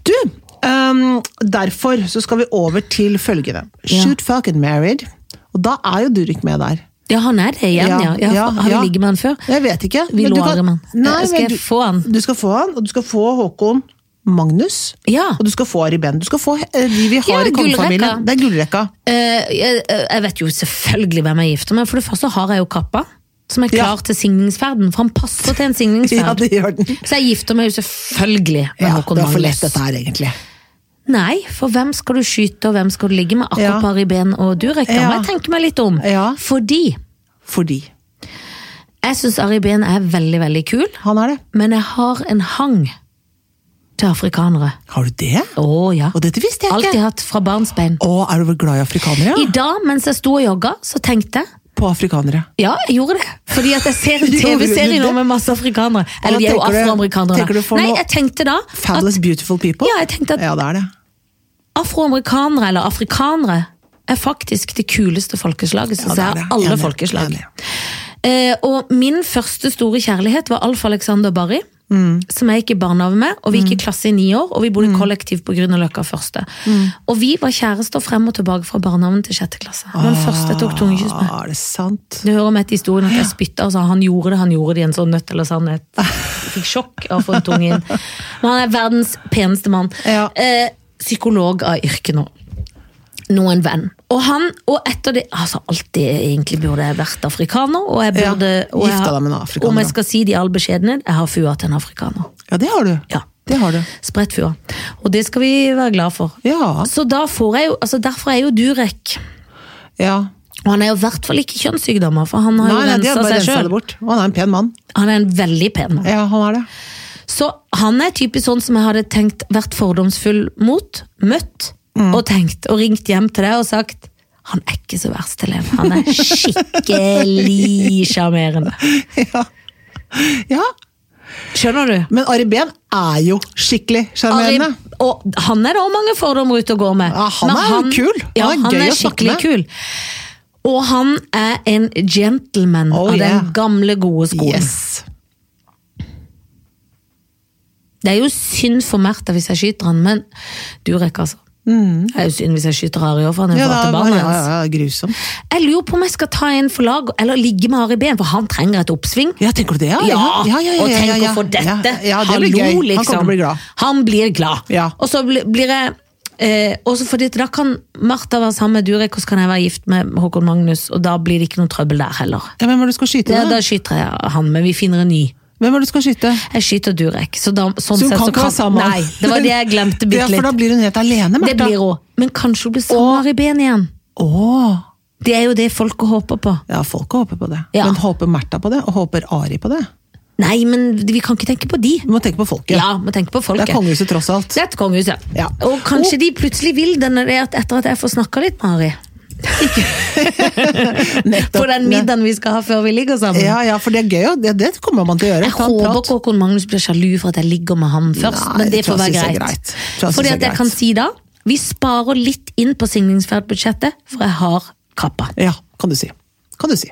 S1: Du, ehm, derfor så skal vi over til følgende.
S2: Ja.
S1: Shoot fucking married. Og da er jo Durek med der.
S2: Ja, han er det igjen, ja. ja, har
S1: ja.
S2: vi ligget med han før?
S1: Jeg vet ikke.
S2: Vi
S1: men
S2: lå
S1: du kan-
S2: aldri med han.
S1: Nei,
S2: Eh, Skal
S1: men
S2: jeg
S1: du-
S2: få han?
S1: Du skal få han, og du skal få Håkon Magnus.
S2: Ja.
S1: Og du skal få Ari Behn. Du skal få eh, de vi har
S2: Ja,
S1: i kongefamilien.
S2: gullrekka.
S1: Det er gullrekka.
S2: Eh, jeg, jeg vet jo selvfølgelig hvem jeg gifter meg For det første har jeg jo kappa, som er
S1: Ja.
S2: klar til signingsferden. For han passer til en
S1: Ja,
S2: signingsferd.
S1: det gjør den.
S2: Så jeg gifter meg jo selvfølgelig med
S1: Ja,
S2: Håkon
S1: det var for
S2: Magnus.
S1: lett dette her, egentlig.
S2: Nei, for hvem skal du skyte, og hvem skal du ligge med?
S1: Ja.
S2: Akkurat bare i ben og Durek. Da
S1: Ja.
S2: må jeg tenke meg litt om.
S1: Ja.
S2: Fordi
S1: Fordi
S2: jeg syns Ari Behn er veldig, veldig kul,
S1: han er det.
S2: men jeg har en hang til afrikanere.
S1: Har du det?
S2: Å ja.
S1: Og dette visste jeg
S2: Alltid
S1: ikke.
S2: hatt fra barnsbein.
S1: Å, er du vel glad i afrikanere?
S2: I
S1: Ja?
S2: dag, mens jeg sto og jogga, så tenkte jeg
S1: På afrikanere.
S2: Ja, jeg gjorde det. Fordi at jeg ser en
S1: Gjorde du
S2: TV-serie nå
S1: det?
S2: med masse afrikanere.
S1: Hva
S2: Eller de er jo
S1: tenker du-
S2: afroamerikanere.
S1: tenker du
S2: da.
S1: for
S2: Nei,
S1: noe-
S2: jeg tenkte da at
S1: Fabulous beautiful people.
S2: Ja, jeg tenkte at-
S1: Ja, det er det.
S2: afroamerikanere eller afrikanere er faktisk det kuleste folkeslaget som
S1: Ja, det er
S2: er
S1: det.
S2: alle
S1: Enig,
S2: folkeslag.
S1: enig.
S2: Eh, og min første store kjærlighet var Alf Alexander Barry. som jeg gikk i barnehage med, og vi gikk i klasse i ni år, og vi bodde kollektivt på Grünerløkka første. Og vi var kjærester frem og tilbake fra barnehagen til sjette klasse. Det var den første jeg tok tungekyss med.
S1: Ah, er det sant?
S2: Du hører om etter historien at jeg spytta, og sa han gjorde det, han gjorde det i en sånn nøtt eller sannhet. Jeg Fikk sjokk av å få en tung inn. Men han er verdens peneste mann.
S1: Ja.
S2: Eh, psykolog av yrke nå. Nå en venn. Og han, og etter det Altså, alltid egentlig burde jeg vært afrikaner, og jeg
S1: Ja,
S2: burde og jeg
S1: gifta
S2: har-
S1: deg med en afrikaner,
S2: Om jeg
S1: da.
S2: skal si det i all beskjedenhet, jeg har fua til en afrikaner.
S1: Ja, det har du.
S2: Ja.
S1: Det har du.
S2: Spredt fua. Og det skal vi være glad for.
S1: Ja.
S2: Så da får jeg jo Altså, derfor er jo Durek
S1: ja.
S2: Og han er jo i hvert fall ikke kjønnssykdommer, for han har
S1: Nei, nei, de
S2: jo
S1: hadde
S2: rensa
S1: bare
S2: seg
S1: rensa det
S2: sjøl.
S1: bort. Og han er en pen mann.
S2: Han er en veldig pen mann.
S1: Ja, han er det.
S2: Så han er typisk sånn som jeg hadde tenkt vært fordomsfull mot, møtt
S1: Mm.
S2: og tenkt, og ringt hjem til deg og sagt han er ikke så verst, Helene. Han er skikkelig sjarmerende.
S1: Ja. ja.
S2: Skjønner du?
S1: Men Ari Behn er jo skikkelig
S2: Ari,
S1: sjarmerende.
S2: og han er det også mange fordommer ute og går med.
S1: Ja, han
S2: Men
S1: er jo kul. Han
S2: Ja,
S1: er
S2: han
S1: gøy
S2: er
S1: å snakke
S2: skikkelig kul. Og han er en gentleman
S1: Oh,
S2: av
S1: yeah.
S2: den gamle, gode skolen.
S1: Yes.
S2: Det er jo synd for Märtha hvis jeg skyter han, men Durek, altså. Det er jo synd hvis jeg skyter Ari òg, for han er
S1: Mm. Ja, det
S2: jo
S1: er,
S2: bare til
S1: ja,
S2: barna
S1: ja,
S2: hans.
S1: ja, grusomt.
S2: Jeg lurer på om jeg skal ta en for lag, eller ligge med Ari Behn, for han trenger et oppsving.
S1: Ja, tenker du det? Ja, ja, ja, ja,
S2: og
S1: ja,
S2: tenk
S1: ja, ja.
S2: å få dette.
S1: Ja, ja, det
S2: Hallo,
S1: blir gøy. Han
S2: liksom.
S1: kommer til å bli glad.
S2: Han blir glad.
S1: Ja.
S2: Og så bli- blir jeg eh, også fordi at Da kan Martha være sammen med Durek, og så kan jeg være gift med Håkon Magnus, og da blir det ikke noe trøbbel der heller.
S1: Ja, hvem er det du skal skyte?
S2: Ja, da
S1: da?
S2: skyter jeg han, men vi finner en ny.
S1: Hvem er det du skal skyte?
S2: Jeg skyter Durek. Så da, sånn
S1: Så hun
S2: sett
S1: kan
S2: så
S1: ikke være sammen.
S2: Nei, det var det jeg glemte
S1: Ja,
S2: bitte
S1: for da
S2: litt.
S1: blir hun helt alene,
S2: Det
S1: Märtha.
S2: blir hun. Men kanskje hun blir sammen med Ari Behn igjen.
S1: Åh.
S2: Det er jo det folk håper på.
S1: Ja, folk håper på det.
S2: Ja.
S1: Men håper Märtha på det? Og håper Ari på det?
S2: Nei, men vi kan ikke tenke på de.
S1: Vi må tenke på folket.
S2: Ja, må tenke på
S1: Det
S2: folket.
S1: er kongehuset, tross alt.
S2: Det er et kongehus, ja.
S1: Ja.
S2: Og kanskje de plutselig vil det når det er at etter at jeg får snakka litt med Ari. På
S1: Nettopp.
S2: den middagen vi skal ha før vi ligger sammen.
S1: Ja, ja, for det er gøy, og det, det kommer man til å gjøre.
S2: Jeg
S1: Ta en
S2: håper
S1: prat.
S2: Håkon Magnus blir sjalu for at jeg ligger med han først,
S1: Nei,
S2: men det
S1: det tror
S2: får være
S1: jeg synes er
S2: greit.
S1: greit. Tror jeg synes
S2: Fordi
S1: er
S2: at jeg
S1: greit.
S2: kan si da, vi sparer litt inn på signingsferdbudsjettet, for jeg har kappa.
S1: Ja, kan du si. Kan du si.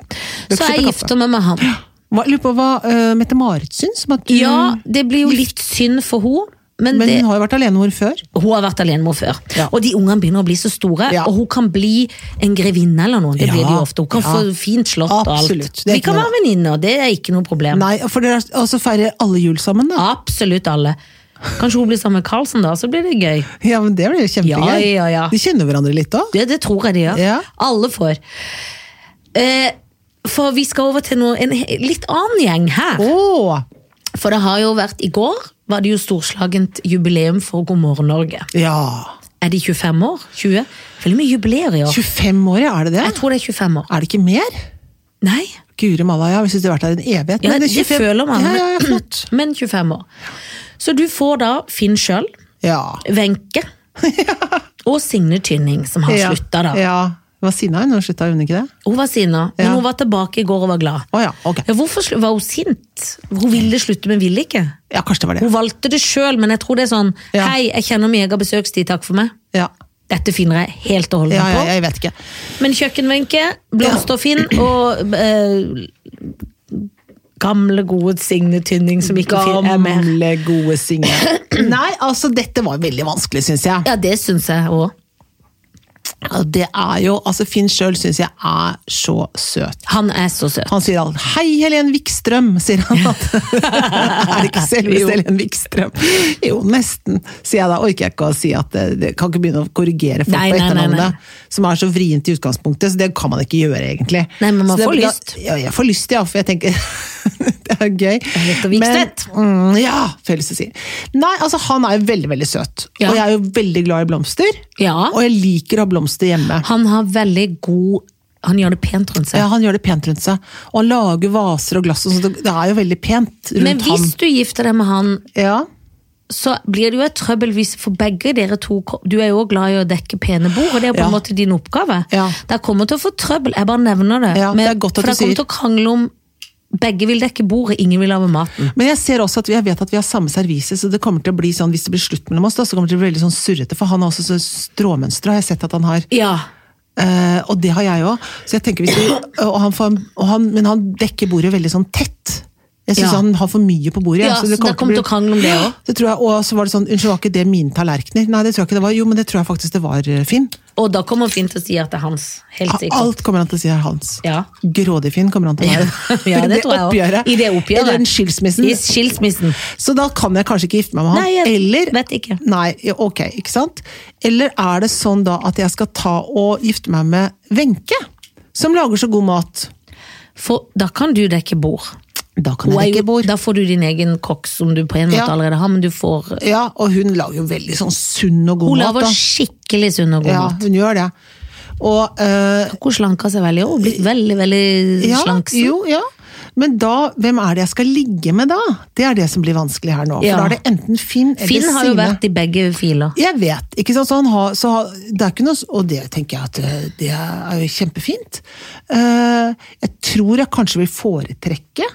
S2: Så jeg gifter meg med han.
S1: Hva, lurer på hva eh, Mette-Marit syns om at du
S2: Ja, det blir jo litt synd for hun, men,
S1: Men
S2: det,
S1: hun har jo vært alenemor før.
S2: hun har vært alenemor før.
S1: Ja.
S2: Og de ungene begynner å bli så store,
S1: Ja.
S2: og hun kan bli en grevinne eller noe. Det
S1: Ja,
S2: blir de ofte. Hun kan
S1: ja.
S2: få fint slott og alt.
S1: Absolutt, det er
S2: Vi
S1: ikke
S2: kan
S1: noe-
S2: være venninner, det er ikke noe problem.
S1: Nei, for dere er- altså, feirer alle jul sammen, da.
S2: Absolutt alle. Kanskje hun blir sammen med Carlsen, da, så blir det gøy.
S1: Ja, men Det blir jo kjempegøy.
S2: Ja, ja, ja.
S1: De kjenner hverandre litt òg.
S2: Det, det tror jeg de gjør.
S1: Ja.
S2: Alle får. Eh, for vi skal over til noe, en he- litt annen gjeng her.
S1: Å!
S2: For det har jo vært I går var det jo storslagent jubileum for God morgen Norge.
S1: Ja.
S2: Er de 25 år? 20? Veldig mye jubileer i år.
S1: 25 år, ja. Er det det?
S2: Jeg tror det er 25 år.
S1: Er det ikke mer?
S2: Nei,
S1: Guri malla, ja. Vi syns de har vært her en evighet.
S2: ja,
S1: men
S2: det,
S1: er 25
S2: føler man.
S1: Ja, ja, ja, flott.
S2: Men 25 år. Så du får da Finn sjøl,
S1: Ja.
S2: Wenche og Signe Tynning, som har
S1: ja.
S2: slutta, da.
S1: Ja. Hva sinna hun? Hun slutta, hun ikke det?
S2: Hun var sinna, men
S1: Ja.
S2: hun var tilbake i går og var glad.
S1: Å ja, ok.
S2: Ja, hvorfor slu- var hun sint? Hun ville slutte, men ville ikke.
S1: Ja, kanskje det var det.
S2: Hun valgte det sjøl, men jeg tror det er sånn
S1: Ja.
S2: Hei, jeg kjenner min egen besøkstid, takk for meg.
S1: Ja,
S2: Dette finner jeg helt og holdent
S1: ja, ja
S2: på.
S1: jeg vet ikke.
S2: Men kjøkkenbenke, blomster Finn og eh, gamle, gode Signe Tynning som ikke fin- er mer.
S1: Gamle, gode Signe. Nei, altså, dette var veldig vanskelig, syns jeg.
S2: Ja, det syns jeg òg.
S1: Ja, Det er jo, altså Finn sjøl syns jeg er så søt.
S2: Han er så søt.
S1: Han sier alt 'Hei, Helen Wikstrøm', sier han. At. er det ikke
S2: Jo.
S1: selveste Helen Wikstrøm? Jo, nesten, sier jeg da. Orker jeg ikke å si at det, det kan ikke begynne å korrigere folk
S2: Nei,
S1: på
S2: nei, nei, nei.
S1: etternavnet, som er så vrient i utgangspunktet, så det kan man ikke gjøre, egentlig.
S2: Nei, men man
S1: Så det
S2: får
S1: blir da-
S2: lyst.
S1: Ja, jeg får lyst, ja, for jeg tenker Det er gøy.
S2: Henriette Wikstedt.
S1: Men- mm, ja, følelse sier. Nei, altså, han er jo veldig, veldig søt.
S2: Ja.
S1: Og jeg er jo veldig glad i blomster.
S2: Ja.
S1: Og jeg liker å ha blomster hjemme.
S2: Han har veldig god Han gjør det pent rundt seg.
S1: Ja, han gjør det pent rundt seg. Og han lager vaser og glass, og sånt. det er jo veldig pent rundt
S2: men hvis du gifter deg med han
S1: ham. Ja.
S2: så blir det jo et trøbbel hvis for begge dere to Du er jo også glad i å dekke pene bord, og det er jo på en
S1: Ja.
S2: måte din oppgave.
S1: Ja.
S2: Dere kommer til å få trøbbel, jeg bare nevner det.
S1: Ja, det er godt at du
S2: for dere kommer
S1: sier.
S2: til å krangle om begge vil dekke bordet, ingen vil lage maten.
S1: Men jeg ser også at vi, jeg vet at vi har samme servise, så det kommer til å bli sånn, hvis det blir slutt mellom oss, da, så kommer det til å bli veldig sånn surrete, for han har også så stråmønstre, har jeg sett at han har.
S2: Ja.
S1: Eh, og det har jeg òg. Så jeg tenker hvis vi, og han får, og han, men han dekker bordet veldig sånn tett. Jeg syns
S2: Ja.
S1: han har for mye på bordet. jeg,
S2: Ja,
S1: så det kan
S2: så dere
S1: ikke
S2: kom
S1: bli-
S2: til å krangle om det også?
S1: Det tror jeg, Og så var det sånn, unnskyld, var ikke det mine tallerkener? Nei, det tror jeg ikke det var. Jo, men det tror jeg faktisk det var, eh, Finn.
S2: Og da kommer Finn til å si at det er hans. Helt sikkert.
S1: Alt kommer han til å si er hans.
S2: Ja.
S1: Grådig Finn kommer han til å være.
S2: Ja,
S1: I
S2: det tror jeg også.
S1: oppgjøret.
S2: I det oppgjøret.
S1: Eller den skilsmissen.
S2: I skilsmissen.
S1: Så da kan jeg kanskje ikke gifte meg med han.
S2: Nei, jeg
S1: Eller
S2: vet ikke.
S1: Nei, ja, ok, ikke sant? Eller er det sånn da at jeg skal ta og gifte meg med Wenche, som lager så god mat?
S2: For da kan du dekke bord.
S1: Da kan
S2: Hun er
S1: jeg
S2: jo-
S1: ikke bord.
S2: Da får du din egen kokk som du på en måte
S1: Ja.
S2: allerede har, men du får
S1: Ja, og hun lager jo veldig sånn sunn og god
S2: Hun
S1: mat.
S2: lager
S1: da.
S2: skikkelig sunn og god
S1: Ja,
S2: mat.
S1: hun gjør det. Og eh,
S2: Hun slanker seg veldig og blitt veldig, veldig
S1: ja,
S2: slanksen.
S1: jo, ja. Men da, hvem er det jeg skal ligge med da? Det er det som blir vanskelig her nå. For
S2: Ja.
S1: da er det enten Finn eller
S2: Finn har jo
S1: Signe.
S2: vært i begge filer.
S1: Jeg vet, ikke sant? Så han har, så har, det er ikke noe, s- og det tenker jeg at eh, det er jo kjempefint. Eh, jeg tror jeg kanskje vil foretrekke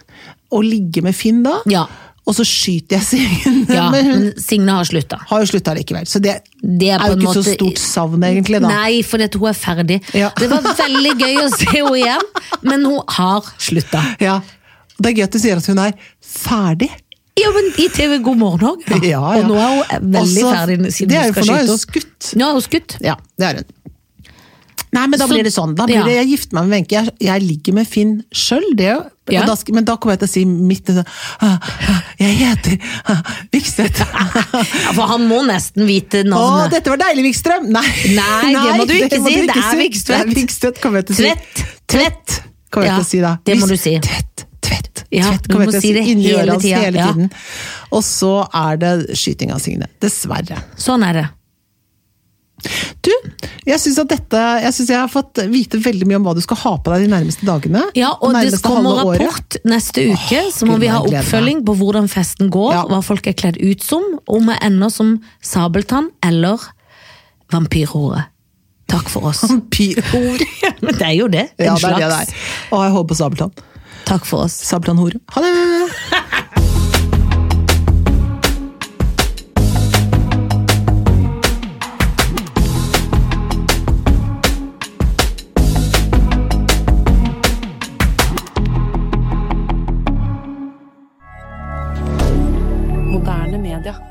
S1: å ligge med Finn da,
S2: Ja.
S1: og så skyter jeg Signe.
S2: Ja,
S1: men hun
S2: men Signe har slutta.
S1: har jo slutta likevel, så det,
S2: Det er
S1: er, jo
S2: på en
S1: ikke så
S2: måte-
S1: stort savn egentlig da.
S2: Nei, for hun er ferdig.
S1: Ja.
S2: Det var veldig gøy å se henne igjen, men hun har slutta.
S1: Ja. Det er gøy at du sier at hun er ferdig.
S2: Ja, men i TV God morgen òg. da.
S1: Ja, ja.
S2: Og nå er hun veldig
S1: Altså,
S2: ferdig siden
S1: det er
S2: hun
S1: jo
S2: skal
S1: for nå er
S2: skyte
S1: hun
S2: oss.
S1: skutt.
S2: Nå er hun skutt.
S1: Ja, det er hun. Nei, men da
S2: Så-
S1: blir det sånn. Da blir
S2: ja.
S1: det, jeg gifter meg med Wenche. Jeg, jeg ligger med Finn sjøl, det er jo. og
S2: Ja.
S1: Da, sk- men da kommer jeg til å si mitt sånn, «Ah, ah, Jeg heter ah, Vikstvedt.
S2: Ja, for han må nesten vite
S1: Å,
S2: navnet.
S1: dette var deilig, Vikstrøm! Nei,
S2: Nei, det må du ikke si. Det er Vikstvedt.
S1: Det er Vikstvedt, kommer jeg til å si.
S2: Tvett.
S1: Tvett, kommer
S2: Ja,
S1: jeg til å si da.
S2: det må du
S1: Vis-
S2: si.
S1: Tvett, tvett,
S2: Ja,
S1: tvett,
S2: du
S1: kommer
S2: må
S1: jeg til å
S2: si
S1: si
S2: det
S1: inni
S2: hele
S1: øret hans
S2: tida,
S1: hele
S2: ja.
S1: tiden. Og så er det skyting av Signe. Dessverre.
S2: Sånn er det.
S1: Du, jeg syns at dette Jeg synes jeg har fått vite veldig mye om hva du skal ha på deg de nærmeste dagene.
S2: Ja, og det
S1: nærmeste
S2: kommer
S1: halve året.
S2: rapport neste uke, så må
S1: Gud,
S2: vi ha
S1: jeg gleder meg.
S2: oppfølging på hvordan festen går,
S1: Ja.
S2: hva folk er kledd ut som, om jeg ender som Sabeltann eller vampyrhore. Takk for oss.
S1: Vampyrhore.
S2: Ja, Men det er jo det. En
S1: Ja, det er det det
S2: slags.
S1: er. Og jeg holder på Sabeltann.
S2: Takk for oss.
S1: Sabeltann-hore. Ha det!
S3: Moderne media.